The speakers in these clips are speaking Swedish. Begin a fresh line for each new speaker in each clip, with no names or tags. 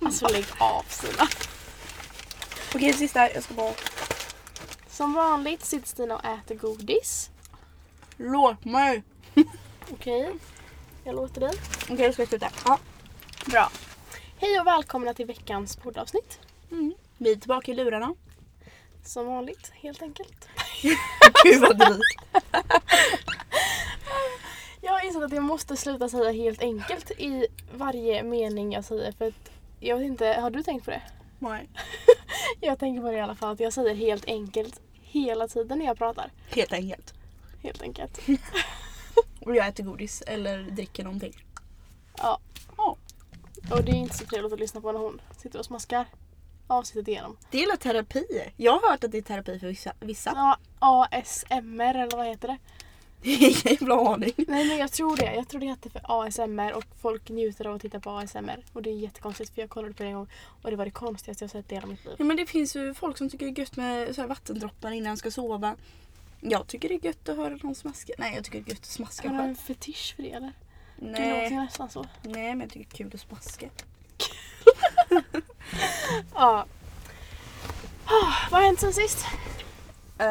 Alltså lägg av Stina.
Okej, sista. Jag ska bara...
Som vanligt sitter Stina och äter godis.
Låt mig!
Okej, jag låter dig.
Okej, då ska jag sluta. Ja.
Bra. Hej och välkomna till veckans poddavsnitt.
Vi är tillbaka i lurarna.
Som vanligt, helt enkelt.
Gud vad drygt.
Jag har insett att jag måste sluta säga helt enkelt i varje mening jag säger för att jag vet inte, har du tänkt på det?
Nej.
Jag tänker på det i alla fall att jag säger helt enkelt hela tiden när jag pratar.
Helt enkelt.
Helt enkelt.
Och jag äter godis eller dricker någonting.
Ja.
Ja.
Och det är inte så trevligt att lyssna på när hon sitter och smaskar avsnittet igenom.
Det är väl terapi? Jag har hört att det är terapi för vissa. vissa.
Ja, ASMR eller vad heter det?
Det är ingen jävla aning.
Nej men jag tror det. Jag tror det heter för ASMR och folk njuter av att titta på ASMR. Och det är jättekonstigt för jag kollade på det en gång och det var det konstigaste jag sett i hela mitt liv.
Ja, men det finns ju folk som tycker det är gött med så här vattendroppar innan de ska sova. Jag tycker det är gött att höra någon smaska. Nej jag tycker det är gött att smaska
Har du en
själv.
fetisch för det eller? Du låter
Nej.
nästan så.
Nej men jag tycker det är kul att smaska.
Ja. Ah, vad har hänt sen sist?
Um,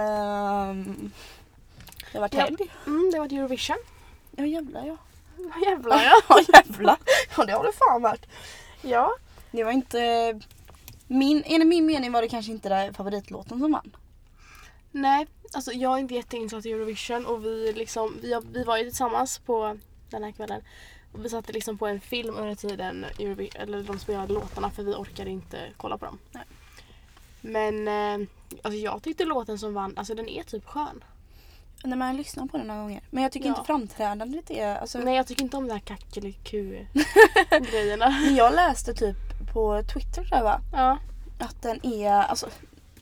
jag har varit
Ja.
helg.
Mm, det var Eurovision.
Ja jävlar ja.
Vad jävlar ja.
Ja jävlar. Ja det har det fan varit.
Ja.
Det var inte... Min, enligt min mening var det kanske inte där favoritlåten som vann.
Nej, alltså jag är inte jätteinsatt i Eurovision och vi, liksom, vi, har- vi var ju tillsammans på den här kvällen. Och vi satte liksom på en film under tiden Eurovi- eller de spelade låtarna för vi orkade inte kolla på dem.
Nej.
Men eh, alltså jag tyckte låten som vann, alltså den är typ skön.
När man lyssnar på den några gånger. Men jag tycker
Ja.
inte framträdandet är... Alltså,
Nej jag tycker inte om de här kackeliku-grejerna.
Jag läste typ på Twitter tror jag va?
ja.
Att den är... Alltså,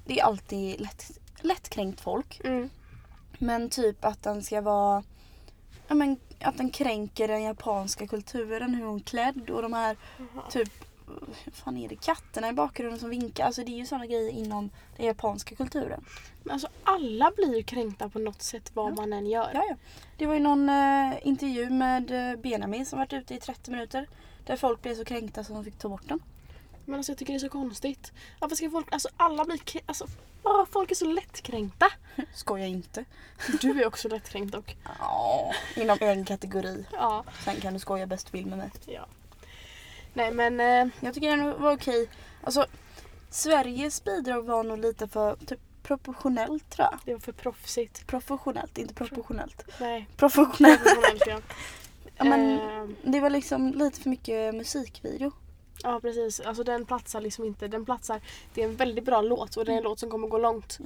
det är alltid lätt, lättkränkt folk.
Mm.
Men typ att den ska vara... Ja, men, att den kränker den japanska kulturen, hur hon är klädd och de här typ... Vad fan är det? Katterna i bakgrunden som vinkar. Alltså det är ju sådana grejer inom den japanska kulturen.
Men alltså alla blir ju kränkta på något sätt vad man än gör.
Ja, ja. Det var ju någon eh, intervju med eh, Benjamin som varit ute i 30 minuter. Där folk blev så kränkta så de fick ta bort den.
Men alltså jag tycker det är så konstigt. Varför ska folk, alltså alla blir krä- alltså åh, folk är så lättkränkta.
Skoja inte.
Du är också lättkränkt dock.
Ja, inom en kategori.
Ja.
Sen kan du skoja bäst du vill med mig.
ja. Nej men, eh,
Jag tycker den var okej. Alltså, Sveriges bidrag var nog lite för typ, proportionellt tror jag.
det var för proffsigt.
Professionellt, inte proportionellt.
Nej,
Professionellt.
professionellt ja.
Ja, men,
Eh,
det var liksom lite för mycket musikvideo.
ja precis, alltså den platsar liksom inte. Den platsar, det är en väldigt bra låt och det är en
Mm.
låt som kommer gå långt.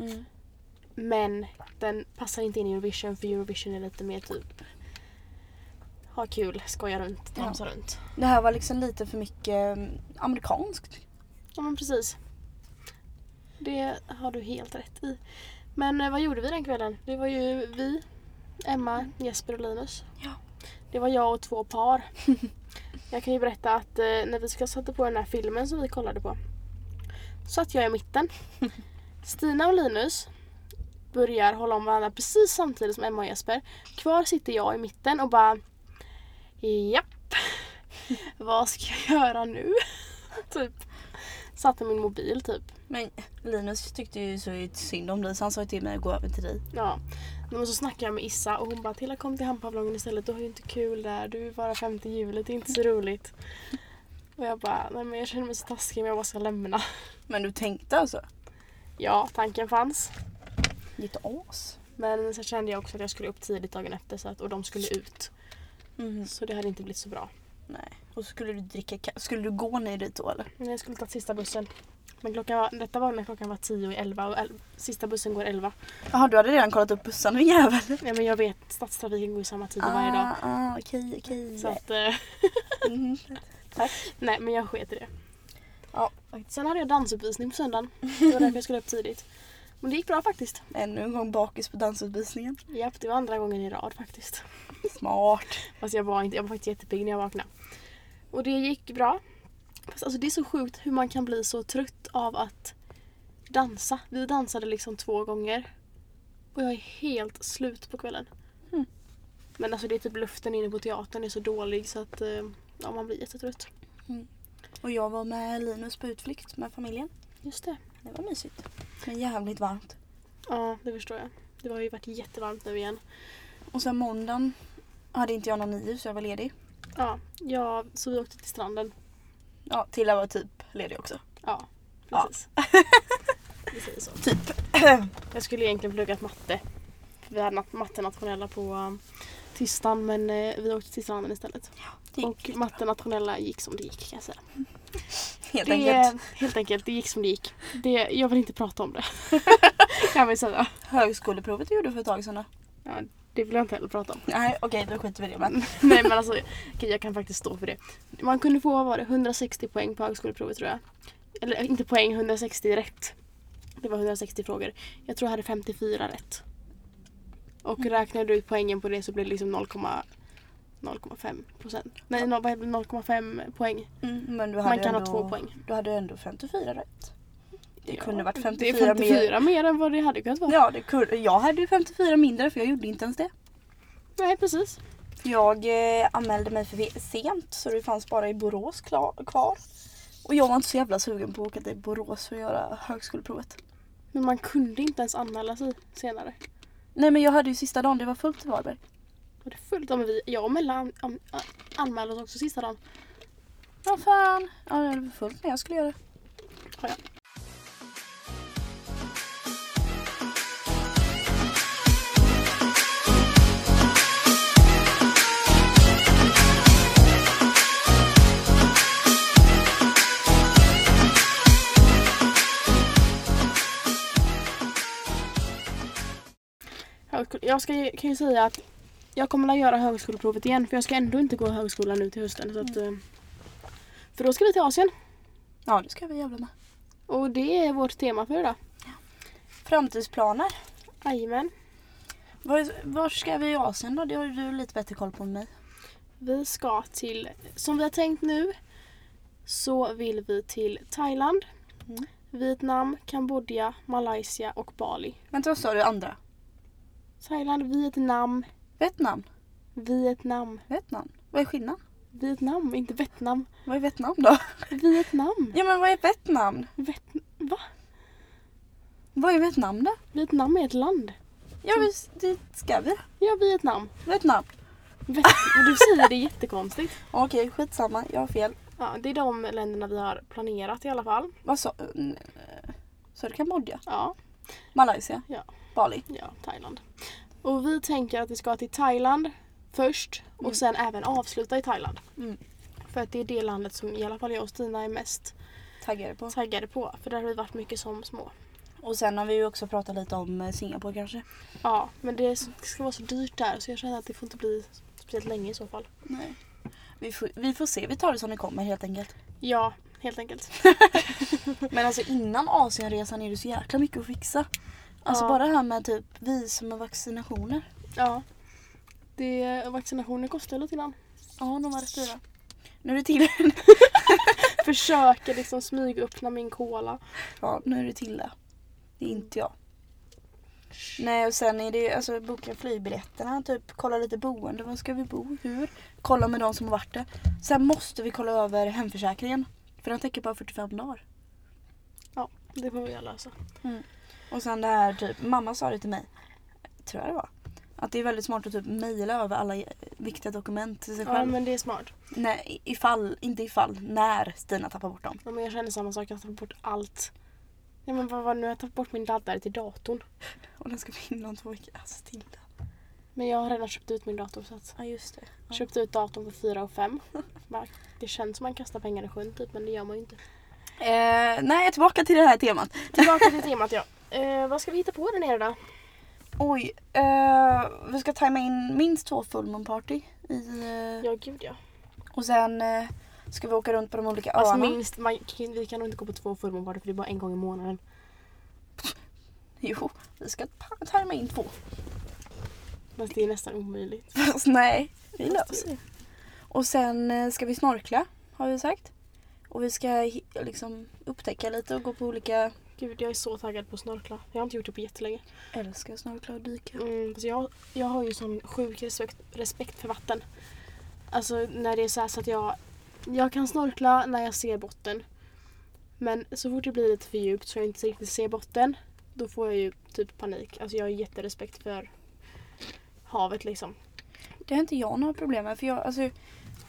Men den passar inte in i Eurovision för Eurovision är lite mer typ ha kul, skoja runt,
Ja.
dansa runt.
Det här var liksom lite för mycket mm, amerikanskt.
Ja men precis. Det har du helt rätt i. Men eh, vad gjorde vi den kvällen? Det var ju vi, Emma, Jesper och Linus.
Ja.
Det var jag och två par. jag kan ju berätta att eh, när vi ska sätta på den här filmen som vi kollade på satt jag i mitten. Stina och Linus börjar hålla om varandra precis samtidigt som Emma och Jesper. Kvar sitter jag i mitten och bara Japp, vad ska jag göra nu? typ. Satte min mobil typ.
Men Linus tyckte ju så synd om dig så han sa ju till mig att gå över till dig.
Ja. Men så snackade jag med Issa och hon bara Tilla kom till Hamnpavlongen istället, du har ju inte kul där, du är bara femte hjulet, det är inte så roligt. Och jag bara, nej men jag känner mig så taskig men jag bara ska lämna.
Men du tänkte alltså?
Ja, tanken fanns.
Ditt as.
Men så kände jag också att jag skulle upp tidigt dagen efter så att, och de skulle ut. Så det hade inte blivit så bra.
Nej. Mm. Och så skulle du dricka ka- Skulle du gå ner dit då eller?
Men jag skulle ta sista bussen. Men klockan var, detta var när klockan var 10 och 11 och el, sista bussen går 11.
Jaha du hade redan kollat upp bussarna din jävel.
Nej men jag vet, stadstrafiken går ju samma tid varje dag.
Ah, ah, okej okej.
Så att, eh,
Mhm.
nej men jag sket i det.
Ja,
Sen hade jag dansuppvisning på söndagen. Det var därför jag skulle upp tidigt. Men det gick bra faktiskt.
ännu en gång bakis på dansutvisningen.
Japp, det var andra gången i rad faktiskt.
Smart.
Fast jag var, inte, jag var faktiskt jättepigg när jag vaknade. Och det gick bra. Fast alltså det är så sjukt hur man kan bli så trött av att dansa. Vi dansade liksom två gånger. Och jag är helt slut på kvällen. Hmm.
Mm.
Men alltså det är typ luften inne på teatern är så dålig så att eh, ja, man blir jättetrött.
Mm. Och jag var med Linus på utflykt med familjen.
Just det.
Det var mysigt. Men jävligt varmt.
Ja, det förstår jag. Det har ju varit jättevarmt nu igen.
Och sen måndagen hade inte jag någon nio så jag var ledig.
Ja, ja så vi åkte till stranden.
Ja, Tilla var typ ledig också.
Ja,
Ja.
precis. Vi säger så.
Typ.
Jag skulle egentligen pluggat matte. För vi hade nat- mattenationella på um, tisdagen men eh, vi åkte till stranden istället.
Det gick
Och mattenationella gick som det gick kan jag säga.
helt
det,
enkelt.
Helt enkelt, det gick som det gick. Det, jag vill inte prata om det. kan vi säga.
Högskoleprovet du gjorde för ett tag sedan då?
Ja, det vill jag inte heller prata om.
Nej okej, då skiter vi i det men.
Nej men alltså, okej, jag kan faktiskt stå för det. Man kunde få, vad var det, 160 poäng på högskoleprovet tror jag. Eller eh, inte poäng, 160 rätt. Det var 160 frågor. Jag tror jag hade 54 rätt. Och
Mm.
räknar du ut poängen på det så blir det liksom 0,5 procent. Nej, noll- vad heter det? 0,5 poäng.
Mm, men du hade
Man kan
ändå,
ha två poäng.
Du hade ändå 54 rätt. Det
Ja,
kunde varit
Det
54,
är
mer.
54 mer. än vad det hade kunnat vara.
Ja, det kunde, jag hade ju 54 mindre för jag gjorde inte ens det.
Nej precis.
För Jag eh, anmälde mig för ve- sent så det fanns bara i Borås kla- kvar. Och jag var inte så jävla sugen på att åka till Borås för att göra högskoleprovet.
Men man kunde inte ens anmäla sig senare.
Nej men jag hade ju sista dagen, det var fullt i Varberg.
Var det fullt? Ja, men vi, jag och Mella an, an, an- anmälde oss också sista dagen.
Ja fan. Ja det var fullt när jag skulle göra.
Ja, ja. Högskol- Jag ska, ju- kan ju säga att jag kommer att göra högskoleprovet igen för jag ska ändå inte gå högskolan nu till hösten. Så att, eh, för då ska vi till Asien.
Ja det ska vi jävla med.
Och det är vårt tema för idag.
Framtidsplaner.
Jajamän.
Var, var ska vi i Asien då? Det har ju du lite bättre koll på än mig.
Vi ska till, som vi har tänkt nu, så vill vi till Thailand,
Mm.
Vietnam, Kambodja, Malaysia och Bali.
Vänta vad sa du andra?
Thailand, Vietnam,
Vietnam?
Vietnam,
Vietnam? Vad är skillnaden?
Vietnam, inte Vietnam.
Vad är Vietnam då?
Vietnam!
Ja men vad är Vietnam?
Viet- va?
Vad är Vietnam då?
Vietnam är ett land.
Ja visst, dit ska vi.
Ja, Vietnam.
Vietnam.
Viet- du säger det jättekonstigt.
Okej, skitsamma. Jag har fel.
Ja, det är de länderna vi har planerat i alla fall.
Vad sa... eh, Sa du Kambodja?
Ja,
Malaysia?
Ja.
Bali?
Ja, Thailand. Och vi tänker att vi ska till Thailand först och
Mm.
sen även avsluta i Thailand.
Mm.
För att det är det landet som i alla fall jag och Stina är mest
Taggade på.
taggade på. För där har vi varit mycket som små.
Och sen har vi ju också pratat lite om eh, Singapore kanske.
Ja, men det ska vara så dyrt där så jag känner att det får inte bli speciellt länge i så fall.
Nej. Vi får, vi får se, vi tar det som det kommer helt enkelt.
Ja, helt enkelt.
Men alltså innan Asienresan är det så jäkla mycket att fixa. Alltså
Ja.
bara det här med typ visum och vaccinationer.
Ja. Det, vaccinationer kostar lite grann.
Ja, de var rätt dyra. Nu är det till.
Försöker liksom smygöppna min cola.
ja, nu är det till det. Det är inte jag. Nej och sen är det ju, alltså boka flygbiljetterna, typ kolla lite boende, var ska vi bo, hur? Kolla med de som har varit där. Sen måste vi kolla över hemförsäkringen. För den täcker bara 45 dagar.
Ja, det får vi lösa.
Och sen det här typ, mamma sa det till mig, tror jag det var. Att det är väldigt smart att typ mejla över alla eh, viktiga dokument till sig
Ja,
själv.
men det är smart.
Nej, ifall, inte ifall, när Stina tappar bort dem.
Ja, men jag känner samma sak, jag har tappat bort allt. Ja, men vad var det nu? Jag har tappat bort min laddare till datorn.
Och den ska vi in om två veckor. Alltså Tilda.
Men jag har redan köpt ut min dator. Så att
Ja just det. Ja.
Köpt ut datorn för 4 och 5. Det känns som man kastar pengar i sjön typ, men det gör man ju inte.
Eh, nej, tillbaka till det här temat.
Tillbaka till temat ja. Eh, vad ska vi hitta på där nere då?
Oj, eh, vi ska tajma in minst två fullmånparty. I, eh,
Ja gud ja.
Och sen eh, ska vi åka runt på de olika
Alltså
öarna.
minst, man, kan- vi kan nog inte gå på två fullmånparty för det är bara en gång i månaden.
Jo, vi ska ta- tajma in två.
Men det är nästan omöjligt.
Fast nej, vi
Fast
löser det. Och sen eh, ska vi snorkla, har vi sagt. Och vi ska hi- liksom upptäcka lite och gå på olika...
Gud jag är så taggad på att snorkla. Jag har inte gjort det på jättelänge.
Älskar snorkla och dyka.
Mm, alltså jag, jag har ju sån sjuk respekt, respekt för vatten. Alltså när det är så, här så att jag Jag kan snorkla när jag ser botten. Men så fort det blir lite för djupt så jag inte riktigt ser botten, då får jag ju typ panik. Alltså jag har jätterespekt för havet liksom.
Det har inte jag några problem med för jag, alltså,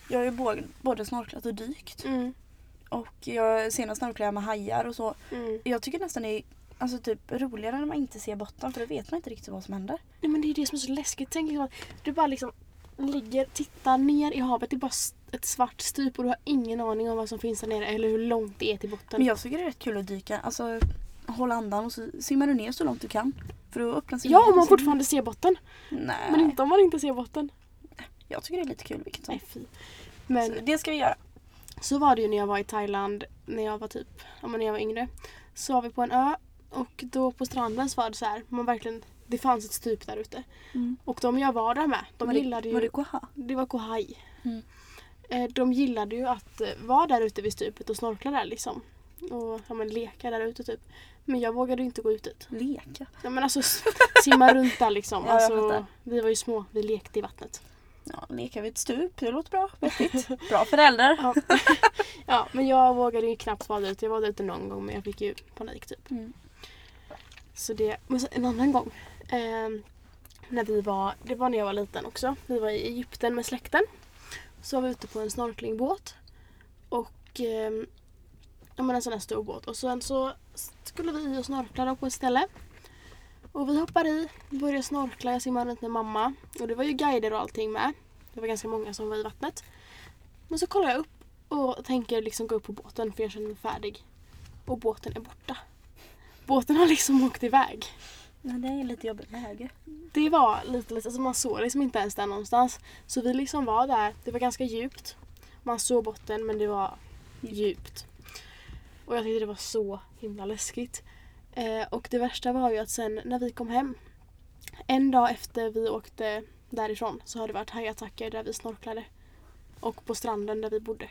jag har ju både, både snorklat och dykt.
Mm.
Och jag, senast snorklade jag med hajar och så.
Mm.
Jag tycker nästan det är alltså, typ, roligare när man inte ser botten för då vet man inte riktigt vad som händer.
Nej men det är det som är så läskigt. Tänk liksom att du bara liksom ligger, tittar ner i havet. Det är bara s- ett svart stup och du har ingen aning om vad som finns där nere eller hur långt det är till botten.
Men jag tycker det är rätt kul att dyka. Alltså hålla andan och så simmar du ner så långt du kan. För då öppnas
Ja, om man
ner.
fortfarande ser botten.
Nej,
Men inte om man inte ser botten.
jag tycker det är lite kul vilket som.
Nej, fy. Men
Så det ska vi göra.
Så var det ju när jag var i Thailand när jag var typ, ja men när jag var yngre. Så var vi på en ö och då på stranden så var det så här, man verkligen, det fanns ett stup där ute.
Mm.
Och de jag var där med, de
Var det-
gillade
Var
ju,
det koha?
det var Koh Hai.
Mm.
Eh, De gillade ju att eh, vara där ute vid stupet och snorkla där liksom. Och ja, men leka där ute typ. Men jag vågade ju inte gå ut dit.
Leka?
Ja, men alltså s- simma runt där liksom.
Ja, jag
alltså,
fattar.
vi var ju små, vi lekte i vattnet.
Ja, leka vid ett stup. Det låter bra. Vettigt. bra föräldrar.
Ja. ja, men jag vågade ju knappt vara där ute. Jag var där ute någon gång men jag fick ju panik typ.
Mm.
Så det, men så en annan gång. ehm, när vi var, det var när jag var liten också. Vi var i Egypten med släkten. Så var vi ute på en snorklingbåt. Och ehm, ja, men en sån här stor båt. Och sen så skulle vi och snorkla då på ett ställe. Och vi hoppar i, börjar snorkla, jag simmar runt med mamma. Och det var ju guider och allting med. Det var ganska många som var i vattnet. Men så kollar jag upp och tänker liksom gå upp på båten för jag känner mig färdig. Och båten är borta. Båten har liksom åkt iväg.
Nej, det är lite jobbigt läge.
Det var lite, lite alltså man såg liksom inte ens den någonstans. Så vi liksom var där, det var ganska djupt. Man såg botten men det var djupt. Och jag tyckte det var så himla läskigt. Eh, och det värsta var ju att sen när vi kom hem, en dag efter vi åkte därifrån så har det varit hajattacker där vi snorklade. Och på stranden där vi bodde.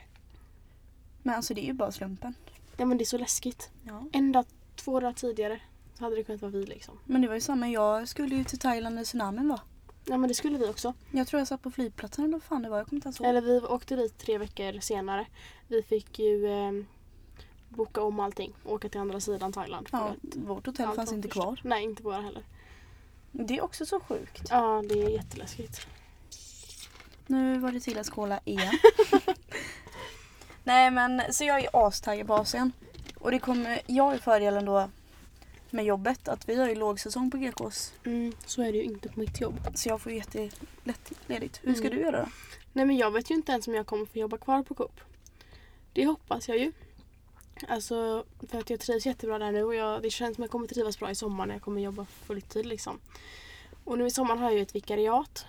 Men alltså det är ju bara slumpen.
Ja men det är så läskigt.
Ja.
En dag, två dagar tidigare så hade det kunnat vara vi liksom.
Men det var ju samma, jag skulle ju till Thailand när tsunamin var.
Ja men det skulle vi också.
Jag tror jag satt på flygplatsen eller vad fan det var, jag kommer inte ens ihåg.
Eller vi åkte dit tre veckor senare. Vi fick ju eh, boka om allting och åka till andra sidan Thailand. för
Ja,
att
vårt hotell
allt
fanns
var
inte
förstört.
kvar.
Nej, inte våra heller.
Det är också så sjukt.
Ja, det är jätteläskigt.
Nu var det till att skåla igen. Nej men, så jag är astaggad på Asien. Och det kommer, jag har ju fördelen då med jobbet att vi har ju lågsäsong på GKs.
Mm, så är det ju inte på mitt jobb.
Så jag får ju jättelätt ledigt. Hur ska
Mm.
du göra då?
Nej men jag vet ju inte ens om jag kommer få jobba kvar på Coop. Det hoppas jag ju. Alltså för att jag trivs jättebra där nu och jag, det känns som jag kommer trivas bra i sommar när jag kommer jobba fulltid liksom. Och nu i sommar har jag ju ett vikariat.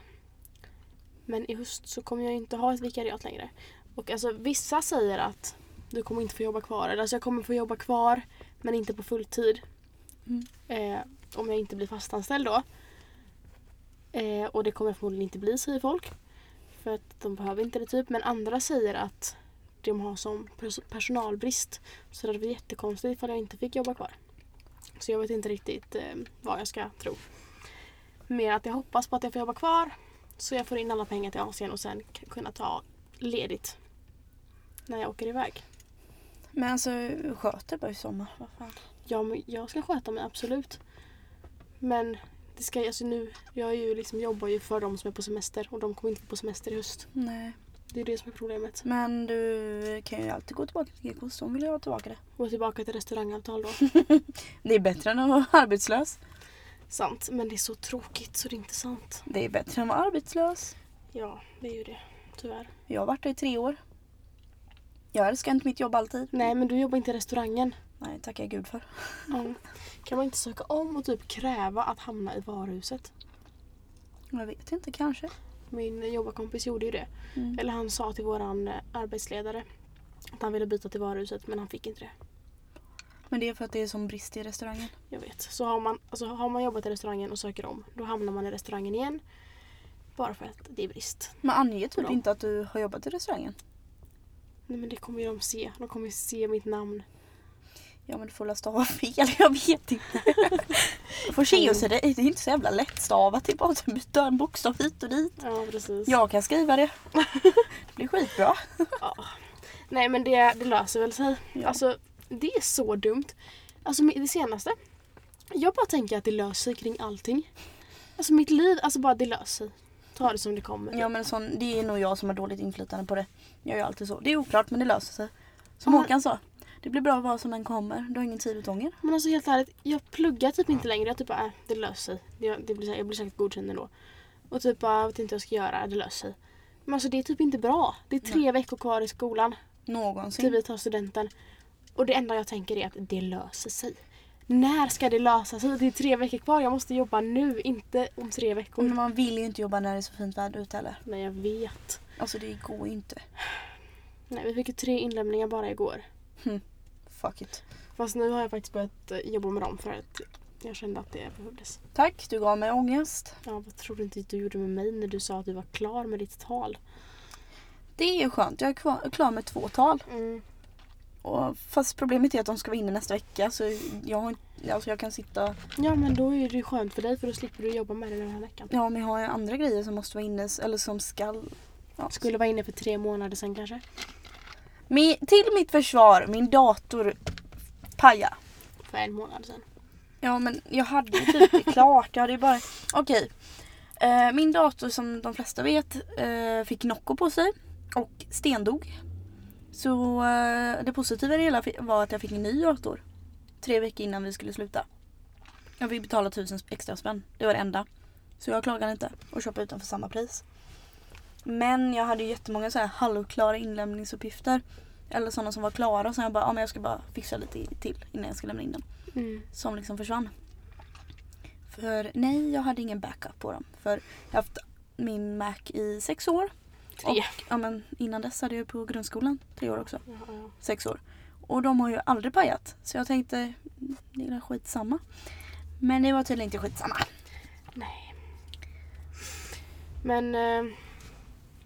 Men i höst så kommer jag ju inte ha ett vikariat längre. Och alltså vissa säger att du kommer inte få jobba kvar. Eller alltså jag kommer få jobba kvar men inte på fulltid.
Mm.
Eh, om jag inte blir fastanställd då. Eh, och det kommer jag förmodligen inte bli säger folk. För att de behöver inte det typ. Men andra säger att de har som pers- personalbrist. Så det hade varit jättekonstigt ifall jag inte fick jobba kvar. Så jag vet inte riktigt eh, vad jag ska tro. Mer att jag hoppas på att jag får jobba kvar. Så jag får in alla pengar till Asien och sen k- kunna ta ledigt. När jag åker iväg.
Men alltså, sköt det bara i sommar. Vad fan.
Ja, men jag ska sköta mig absolut. Men det ska, alltså nu, jag är ju liksom, jobbar ju för de som är på semester och de kommer inte på semester i höst.
Nej.
Det är det som är problemet.
Men du kan ju alltid gå tillbaka till GKs, de vill ju ha tillbaka det.
Gå tillbaka till restaurangavtal då.
Det är bättre än att vara arbetslös.
Sant, men det är så tråkigt så det är inte sant.
Det är bättre än att vara arbetslös.
Ja, det är ju det. Tyvärr.
Jag har varit där i tre år. Jag älskar inte mitt jobb alltid.
Nej, men du jobbar inte i restaurangen.
Nej, tackar gud för.
Mm. Kan man inte söka om och typ kräva att hamna i varuhuset?
Jag vet inte, kanske.
Min jobbarkompis gjorde ju det.
Mm.
Eller han sa till våran eh, arbetsledare att han ville byta till varuhuset men han fick inte det.
Men det är för att det är som brist i restaurangen.
Jag vet. Så har man, alltså, har man jobbat i restaurangen och söker om då hamnar man i restaurangen igen. Bara för att det är brist.
Men ange typ
Ja.
inte att du har jobbat i restaurangen.
Nej men det kommer ju de se. De kommer ju se mitt namn.
Ja men du får väl stava fel, jag vet inte. Jag får se och se, det är inte så jävla lätt stavat. Det är bara att byta en bokstav hit och dit.
Ja precis.
Jag kan skriva det. Det blir skitbra.
Ja. Nej men det, det löser väl sig.
Ja.
Alltså det är så dumt. Alltså mi- det senaste. Jag bara tänker att det löser sig kring allting. Alltså mitt liv, alltså bara det löser sig. Ta det som det kommer. typ.
Ja men sån, det är nog jag som har dåligt inflytande på det. Jag gör alltid så. Det är oklart men det löser sig. Som
Ja, men-
Håkan sa. Det blir bra vad som än kommer. Du har ingen tid åt ånger.
Men alltså helt ärligt, jag pluggar typ inte längre. Jag typ bara, äh, det löser sig. Det, det blir, sä- jag blir säkert godkänd ändå. Och typ bara, jag vet inte vad jag ska göra, det löser sig. Men alltså det är typ inte bra. Det är tre veckor kvar i skolan.
Någonsin.
till vi tar Typ. studenten. Och det enda jag tänker är att det löser sig. När ska det lösa sig? Det är tre veckor kvar, jag måste jobba nu, inte om tre veckor.
Men man vill ju inte jobba när det är så fint väder ute heller.
Nej jag vet.
Alltså det går ju inte.
Nej, vi fick ju tre inlämningar bara igår.
Fuck it.
Fast nu har jag faktiskt börjat eh, jobba med dem för att jag kände att det behövdes.
Tack, du gav mig ångest.
Ja, vad tror du inte du gjorde med mig när du sa att du var klar med ditt tal?
Det är skönt. Jag är kvar- klar med två tal.
Mm.
Och, fast problemet är att de ska vara inne nästa vecka så jag, har, inte- alltså jag kan sitta...
Ja, men då är det ju skönt för dig för då slipper du jobba med det den här veckan.
Ja men jag har ju andra grejer som måste vara inne s- eller som skall. Ja.
Skulle vara inne för tre månader sedan kanske.
Mi- till mitt försvar, min dator paja.
För en månad sedan.
Ja men jag hade ju typ det klart. Jag hade ju bara... Okej. Eh, min dator som de flesta vet eh, fick Nocco på sig och stendog. Så eh, det positiva i det hela fi- var att jag fick en ny dator. Tre veckor innan vi skulle sluta. Jag fick betala tusen extra spänn. Det var det enda. Så jag klagade inte och köpte utan för samma pris. Men jag hade ju jättemånga så här halvklara inlämningsuppgifter. Eller sådana som var klara så jag bara, ja men jag ska bara fixa lite till innan jag ska lämna in den
Mm.
som liksom försvann. För nej, jag hade ingen backup på dem. För jag har haft min Mac i sex år.
Tre.
Och, ja, men innan dess hade jag på grundskolan tre år också.
Ja, ja.
Sex år. Och de har ju aldrig pajat. Så jag tänkte, "Mm, det är väl skitsamma. Men det var tydligen inte skitsamma.
Nej. Men eh,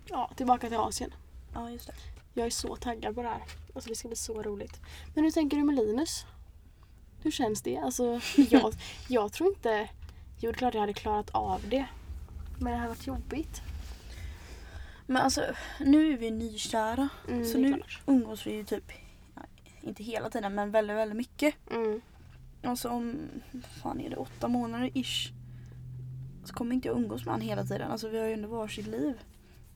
ja, tillbaka till Asien.
Ja, just det.
Jag är så taggad på det här. Alltså det ska bli så roligt. Men hur tänker du med Linus? Hur känns det? Alltså jag, jag tror inte... Jo, det är klart jag hade klarat av det. Men det hade varit jobbigt.
Men alltså, nu är vi nykära.
Mm,
så
det är
nu
klart.
umgås vi ju typ, ja, inte hela tiden, men väldigt, väldigt mycket.
Mm.
Alltså om, vad fan är det, åtta månader ish. Så kommer inte jag umgås med han hela tiden. Alltså vi har ju ändå varsitt liv.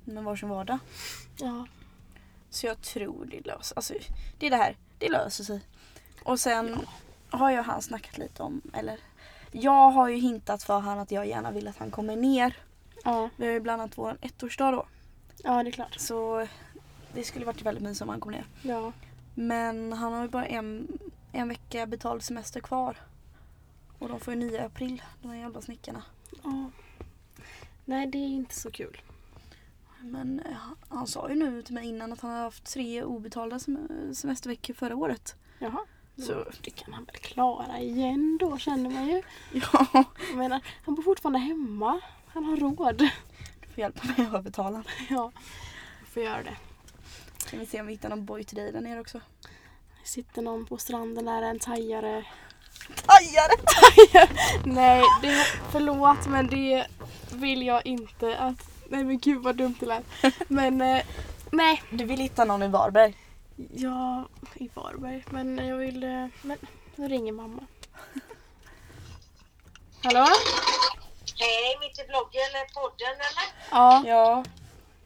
Med varsin vardag.
Ja.
Så jag tror det löser Alltså det är det här, det löser sig. Och sen har jag och han snackat lite om, eller jag har ju hintat för han att jag gärna vill att han kommer ner.
ja.
Vi har ju bland annat vår ettårsdag då.
Ja, det är klart.
Så det skulle varit väldigt mysigt om han kom ner.
Ja.
Men han har ju bara en, en vecka betald semester kvar. Och de får ju 9 april, de här jävla snickarna.
ja. Nej, det är inte så kul.
Men eh, han- han sa ju nu till mig innan att han har haft tre obetalda sem- semesterveckor förra året.
Jaha.
Så
Det kan han väl klara igen då, känner man ju.
ja,
Jag menar, han bor fortfarande hemma. Han har råd.
du får hjälpa mig att övertala.
Ja, jag får göra det.
Kan vi se om vi hittar någon boy till dig där nere också.
Sitter någon på stranden där, en tajare.
Tajare!
Nej, det, förlåt men det vill jag inte att... Nej men gud vad dumt det lät. Men eh, nej,
Du vill hitta någon i Varberg?
jag i Varberg. Men jag vill... eh, Men nu ringer mamma. Hallå?
Hej, mitt i vloggen eller podden eller?
Ja,
Ja.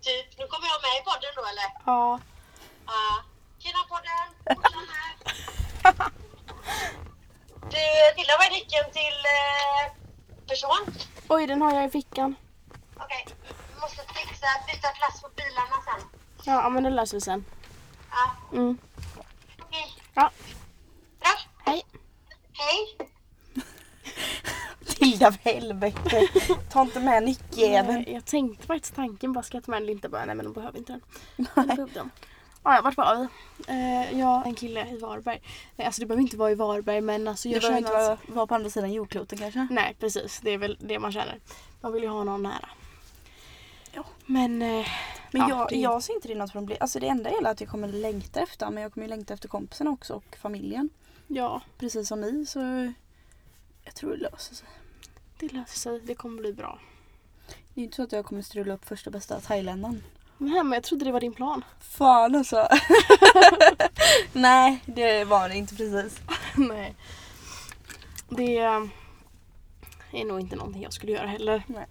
Typ, nu kommer jag med i podden då eller?
ja.
Ja. Tjena podden! Ola här. Du, Tilda, vad är nyckeln till eh, person?
Oj, den har jag i fickan.
Okej, vi måste fixa, byta plats på bilarna sen.
Ja, men det löser vi sen.
Ja,
Mm.
okej.
Ja,
Bra,
hej.
hej!
Tilda för helvete. Ta inte med nyckeln.
Nej, jag tänkte faktiskt tanken bara ska jag ta med den eller inte bara nej men de behöver inte den. Jag lägger upp dem. Ah, ja, vart var vi? Eh, ja, en kille i Varberg. Nej, alltså det behöver inte vara i Varberg men alltså
Du
jag
behöver
känner
inte
att-
vara, Mm. vara på andra sidan jordklotet kanske?
Nej precis, det är väl det man känner. Man vill ju ha någon nära.
Ja.
Men eh, Ja,
Men jag,
det-
jag ser inte det något problem. Alltså det enda är att jag kommer längta efter honom, men jag kommer ju längta efter kompisarna också och familjen.
ja,
Precis som ni så jag tror det löser sig.
det löser sig. Det kommer bli bra.
Det är ju inte så att jag kommer strula upp första bästa thailändaren.
Nej men jag trodde det var din plan.
Fan alltså. Nej, det var det inte precis.
Nej. Det eh, är nog inte någonting jag skulle göra heller.
Nej.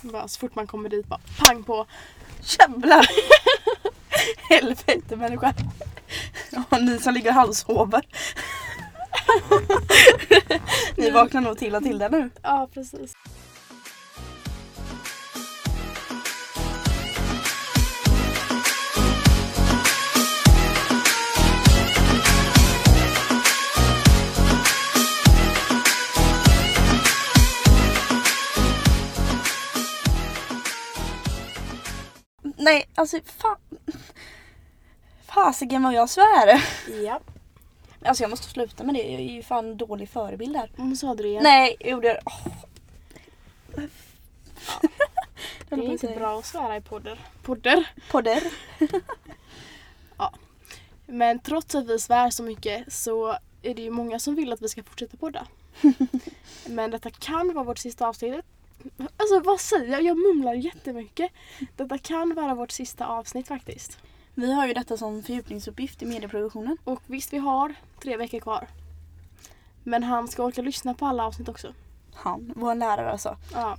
Bara, så fort man kommer dit bara pang på.
Jävlar! Helvete människa. Ja, ni som ligger och halvsover. ni vaknar nog till och till där nu.
Ja precis.
Nej, alltså fan. Fasiken vad jag svär.
Ja.
Alltså jag måste sluta med det. Jag är ju fan dålig förebild här.
Och så hade du igen.
Nej, jag gjorde... åh.
det är inte bra att svära i podder. Podder.
Podder.
Men trots att vi svär så mycket så är det ju många som vill att vi ska fortsätta podda. Men detta kan vara vårt sista avsnitt. Alltså vad säger jag? Jag mumlar jättemycket. Detta kan vara vårt sista avsnitt faktiskt.
Vi har ju detta som fördjupningsuppgift i medieproduktionen.
Och visst, vi har tre veckor kvar. Men han ska orka lyssna på alla avsnitt också.
Han, vår lärare alltså.
Ja.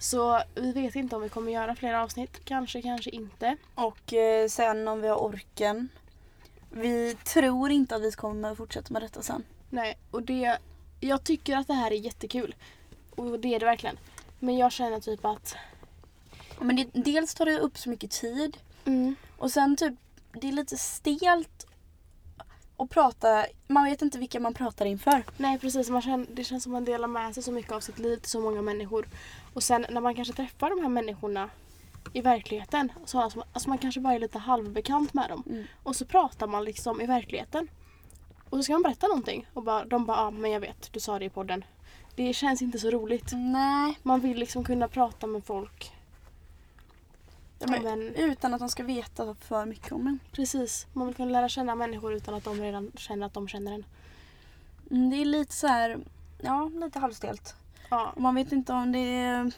Så vi vet inte om vi kommer göra fler avsnitt. Kanske, kanske inte.
Och eh, sen om vi har orken. Vi tror inte att vi kommer fortsätta med detta sen.
Nej, och det... Jag tycker att det här är jättekul. Och det är det verkligen. Men jag känner typ att...
Men det, dels tar det upp så mycket tid
Mm,
och sen typ det är lite stelt att prata. Man vet inte vilka man pratar inför.
nej precis, man känner, det känns som man delar med sig så mycket av sitt liv till så många människor. Och sen när man kanske träffar de här människorna i verkligheten. Sådana som, alltså man kanske bara är lite halvbekant med dem.
Mm.
Och så pratar man liksom i verkligheten. Och så ska man berätta någonting och bara, de bara ja ah, men jag vet, du sa det i podden. Det känns inte så roligt.
Nej.
Man vill liksom kunna prata med folk. Ja, men,
Utan att de ska veta för mycket om en.
precis, man vill kunna lära känna människor utan att de redan känner att de känner en.
Mm, Det är lite så här, ja lite halvstelt.
Ja,
Och Man vet inte om det är,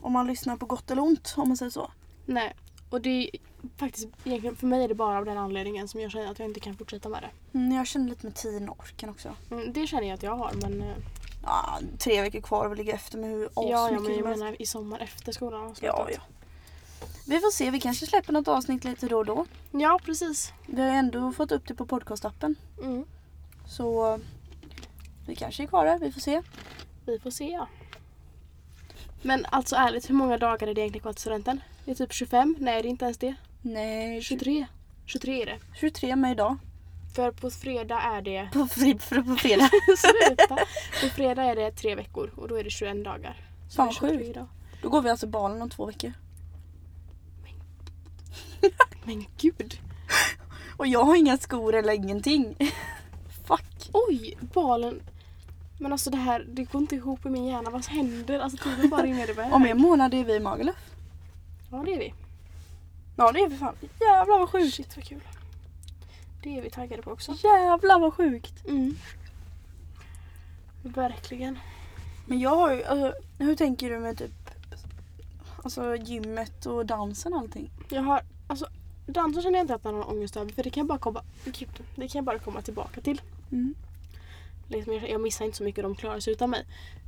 om man lyssnar på gott eller ont om man säger så.
nej. Och det är faktiskt egentligen, för mig är det bara av den anledningen som jag känner att jag inte kan fortsätta med det.
Mm, Jag känner lite med tiden och orken också.
Mm, det känner jag att jag har men, eh,
Ja, tre veckor kvar och vi ligger efter med hur
ja, ja,
asmycket
men
som
jag
helst.
menar i sommar efter skolan har
Ja,
slutat.
ja. Vi får se, vi kanske släpper något avsnitt lite då och då.
ja precis.
Vi har ju ändå fått upp det på podcastappen.
Mm.
Så vi kanske är kvar där, vi får se.
Vi får se ja. Men alltså ärligt, hur många dagar är det egentligen kvar till studenten? Det är typ 25? Nej det är inte ens det.
Nej,
23. 23 är det.
23 med idag.
För på fredag är det...
På, fri, för, på fredag.
Sluta! på fredag är det tre veckor och då är det 21 dagar. Så
Fan,
det är 23
sjukt.
idag.
Då går vi alltså balen om två veckor.
Men gud!
Och jag har inga skor eller ingenting. Fuck.
Oj! Balen. Men alltså det här, det går inte ihop i min hjärna. Vad händer? Alltså tiden bara rinner iväg.
Om en månad är vi i Magaluf.
Ja det är vi.
Ja det är vi fan. Jävlar vad sjukt.
Shit vad kul. Det är vi taggade på också.
Jävlar vad sjukt.
Mm. Verkligen.
Men jag har ju, alltså, hur tänker du med typ alltså, gymmet och dansen och allting?
Jag har, alltså dansen känner jag inte att jag har någon ångest över för det kan jag bara komma, gud, det kan jag bara komma tillbaka till.
Mm.
Liksom, jag, jag missar inte så mycket och de klarar sig utan mig.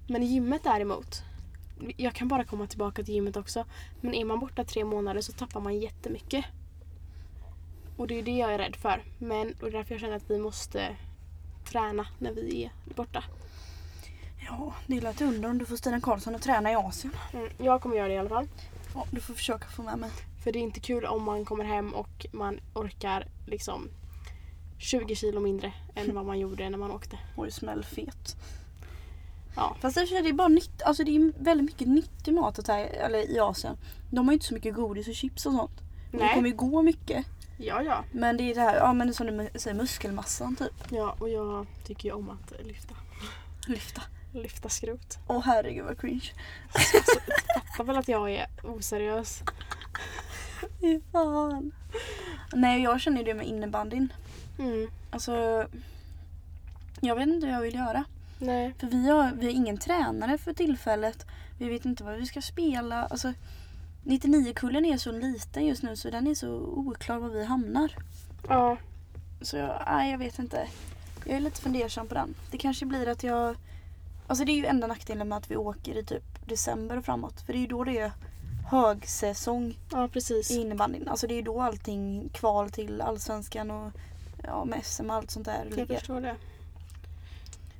Men gymmet däremot, jag kan bara komma tillbaka till gymmet också. Men är man borta tre månader så tappar man jättemycket. Och det är ju det jag är rädd för. Men, och det är därför jag känner att vi måste träna när vi är borta.
Ja, det lät undra om du får Stina Karlsson att träna i Asien.
Mm, jag kommer göra det i alla fall.
Ja, du får försöka få med mig.
För det är inte kul om man kommer hem och man orkar liksom 20 kilo mindre än vad man gjorde när man åkte.
Oj, smäll fet.
Ja.
Fast i och för sig, det är bara nytt, alltså det är väldigt mycket nyttig mat att ta, eller i Asien. De har ju inte så mycket godis och chips och sånt. Det kommer
Nej.
ju gå mycket.
Ja, ja.
Men det är det här, ja men som du säger, muskelmassan typ.
Ja, och jag tycker ju om att lyfta,
Lyfta.
lyfta skrot.
Åh herregud vad cringe.
Fattar väl att jag är oseriös.
Fy fan. Nej, jag känner ju det med innebandyn.
Mm.
Alltså, jag vet inte hur jag vill göra.
Nej.
För vi har, vi har ingen tränare för tillfället. Vi vet inte vad vi ska spela. Alltså, 99-kullen är så liten just nu så den är så oklar var vi hamnar.
Ja.
Så jag, nej, jag vet inte. Jag är lite fundersam på den. Det kanske blir att jag... Alltså det är ju enda nackdelen med att vi åker i typ december och framåt. För det är ju då det är högsäsong
ja, precis.
i innebandyn. Alltså det är ju då allting kval till allsvenskan och ja, med SM och allt sånt där
Jag
ligger.
förstår det.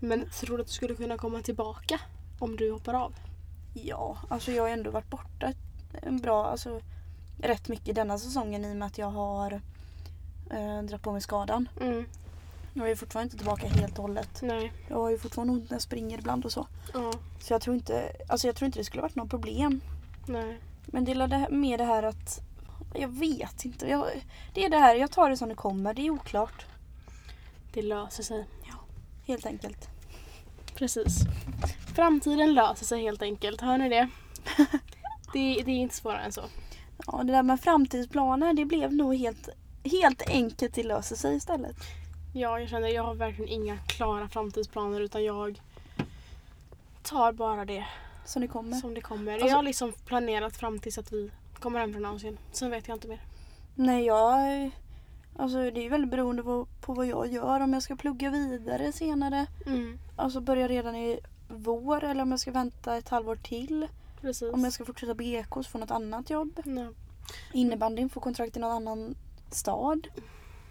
Men tror du att du skulle kunna komma tillbaka om du hoppar av?
Ja, alltså jag har ändå varit borta ett- en bra, alltså rätt mycket denna säsongen i och med att jag har eh, dragit på mig skadan.
Mm.
Jag är ju fortfarande inte tillbaka helt och hållet.
Nej.
Jag har ju fortfarande ont när jag springer ibland och så.
Ja.
Så jag tror inte, alltså jag tror inte det skulle varit något problem.
Nej.
Men det är det här- mer det här att jag vet inte. Jag, det är det här, jag tar det som det kommer. Det är oklart.
Det löser sig.
Helt enkelt.
Precis. Framtiden löser sig helt enkelt. Hör ni det? det, det är inte svårare än så.
Ja, det där med framtidsplaner, det blev nog helt, helt enkelt det löser sig istället.
Ja, jag känner jag har verkligen inga klara framtidsplaner utan jag tar bara det
Så det kommer.
som det kommer.
Alltså-
jag har liksom planerat fram tills att vi kommer hem från Asien. Sen vet jag inte mer.
Nej, jag... Alltså det är ju väldigt beroende på, på vad jag gör. Om jag ska plugga vidare senare.
Mm,
Alltså börja redan i vår eller om jag ska vänta ett halvår till.
Precis.
Om jag ska fortsätta BK så få något annat jobb.
Nej,
Innebandyn, få kontrakt i någon annan stad.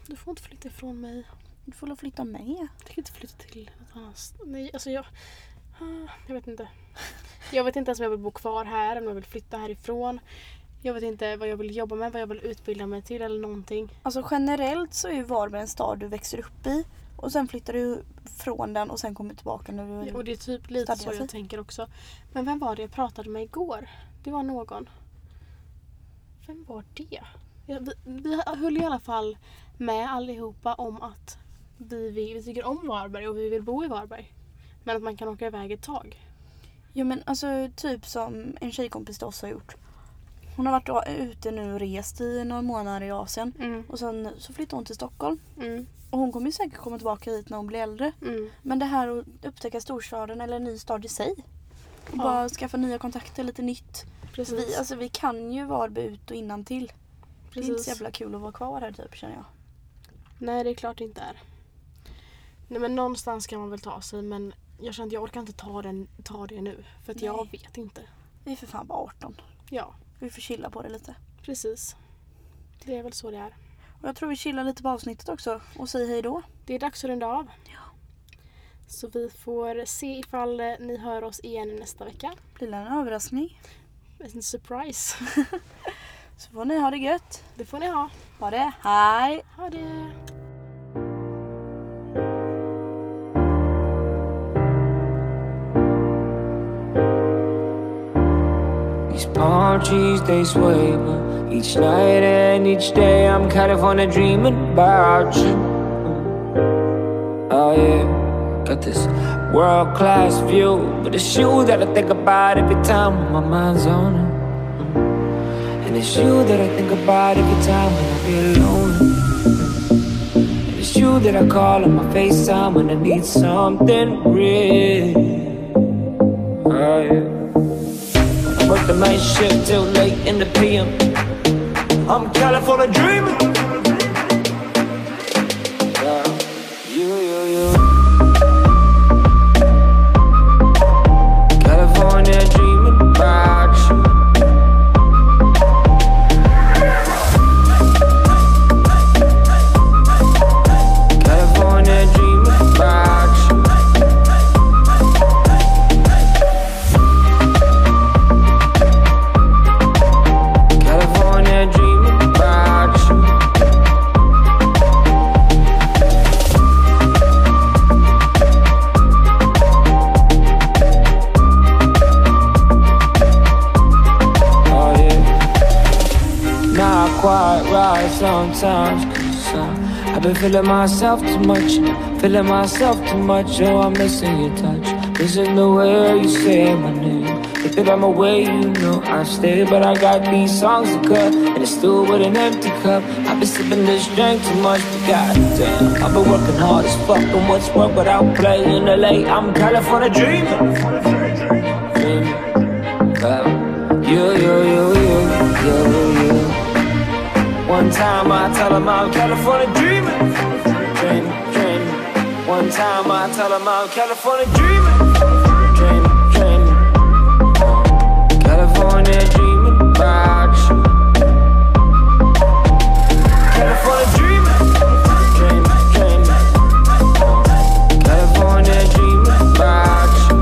du får inte flytta ifrån mig.
Du får väl flytta med.
Jag tänker inte flytta till något annat st- Nej, alltså jag... Ah, Jag vet inte. Jag vet inte ens om jag vill bo kvar här, om jag vill flytta härifrån. Jag vet inte vad jag vill jobba med, vad jag vill utbilda mig till eller någonting.
Alltså generellt så är ju Varberg en stad du växer upp i. Och sen flyttar du från den och sen kommer tillbaka när du...
Och det är typ lite så
Stadga sig.
jag tänker också. Men vem var det jag pratade med igår? Det var någon. Vem var det? Ja, vi, vi höll i alla fall med allihopa om att vi, vi, vi tycker om Varberg och vi vill bo i Varberg. Men att man kan åka iväg ett tag.
Ja men alltså typ som en tjejkompis till oss har gjort. Hon har varit ute nu och rest i några månader i Asien.
Mm,
Och sen så flyttade hon till Stockholm.
mm,
Och hon kommer ju säkert komma tillbaka hit när hon blir äldre.
mm.
Men det här att upptäcka storstaden eller en ny stad i sig. Och
Ja.
bara skaffa nya kontakter, lite nytt.
Precis.
Vi, alltså, vi kan ju Varberg ut och innan till. Det är inte
Precis.
så jävla kul att vara kvar här typ känner jag.
Nej, det är klart det inte är. Nej, men någonstans kan man väl ta sig men jag känner att jag orkar inte ta, den, ta det nu. För att jag vet inte.
Vi är för fan bara 18.
Ja,
Vi får chilla på det lite.
precis. Det är väl så det är.
Och jag tror vi chillar lite på avsnittet också och säger hej då.
Det är dags att runda av. Så vi får se ifall eh, ni hör oss igen nästa vecka.
Blir det en överraskning?
En surprise.
Så får ni ha det gött.
Det får ni ha.
Ha det. Hej!
Ha det!
These palm trees, they sway, but each night and each day I'm California dreaming about you. Oh, yeah, got this world class view, but it's you that I think about every time when my mind's on it. And it's you that I think about every time when I feel lonely. And it's you that I call on my FaceTime when I need something real. Oh, yeah. I work the night shift till late in the PM. I'm California dreaming. Yeah, you, you, you. California dreaming about you. California dreaming about you. California dreaming about you. Oh yeah, not quite right sometimes. 'cause I, I've been feeling myself too much, feeling myself too much. Oh, I'm missing your touch, missing the way you say my name. If that I'm away, you know I stay, but I got these songs to cut, and it's still with an empty cup. I've been sipping this drink too much, but goddamn, I've been working hard as fuck, and what's work without playing LA? I'm California dreaming. dreaming. Yeah. You, you, you, you. you, you. One time I tell him I'm California dreaming. Dream, dream. One time I tell him I'm California dreaming. Dream, dream. California dreaming about you. California dreaming. Dream, dream. California dreaming about you.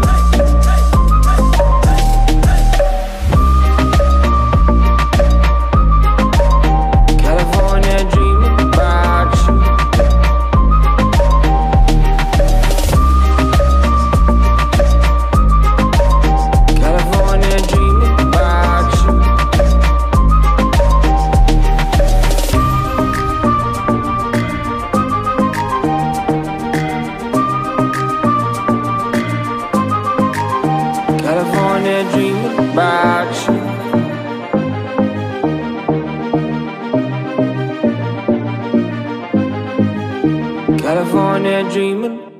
California dreaming about you. California dreaming about you. California dreaming about you. California dreaming.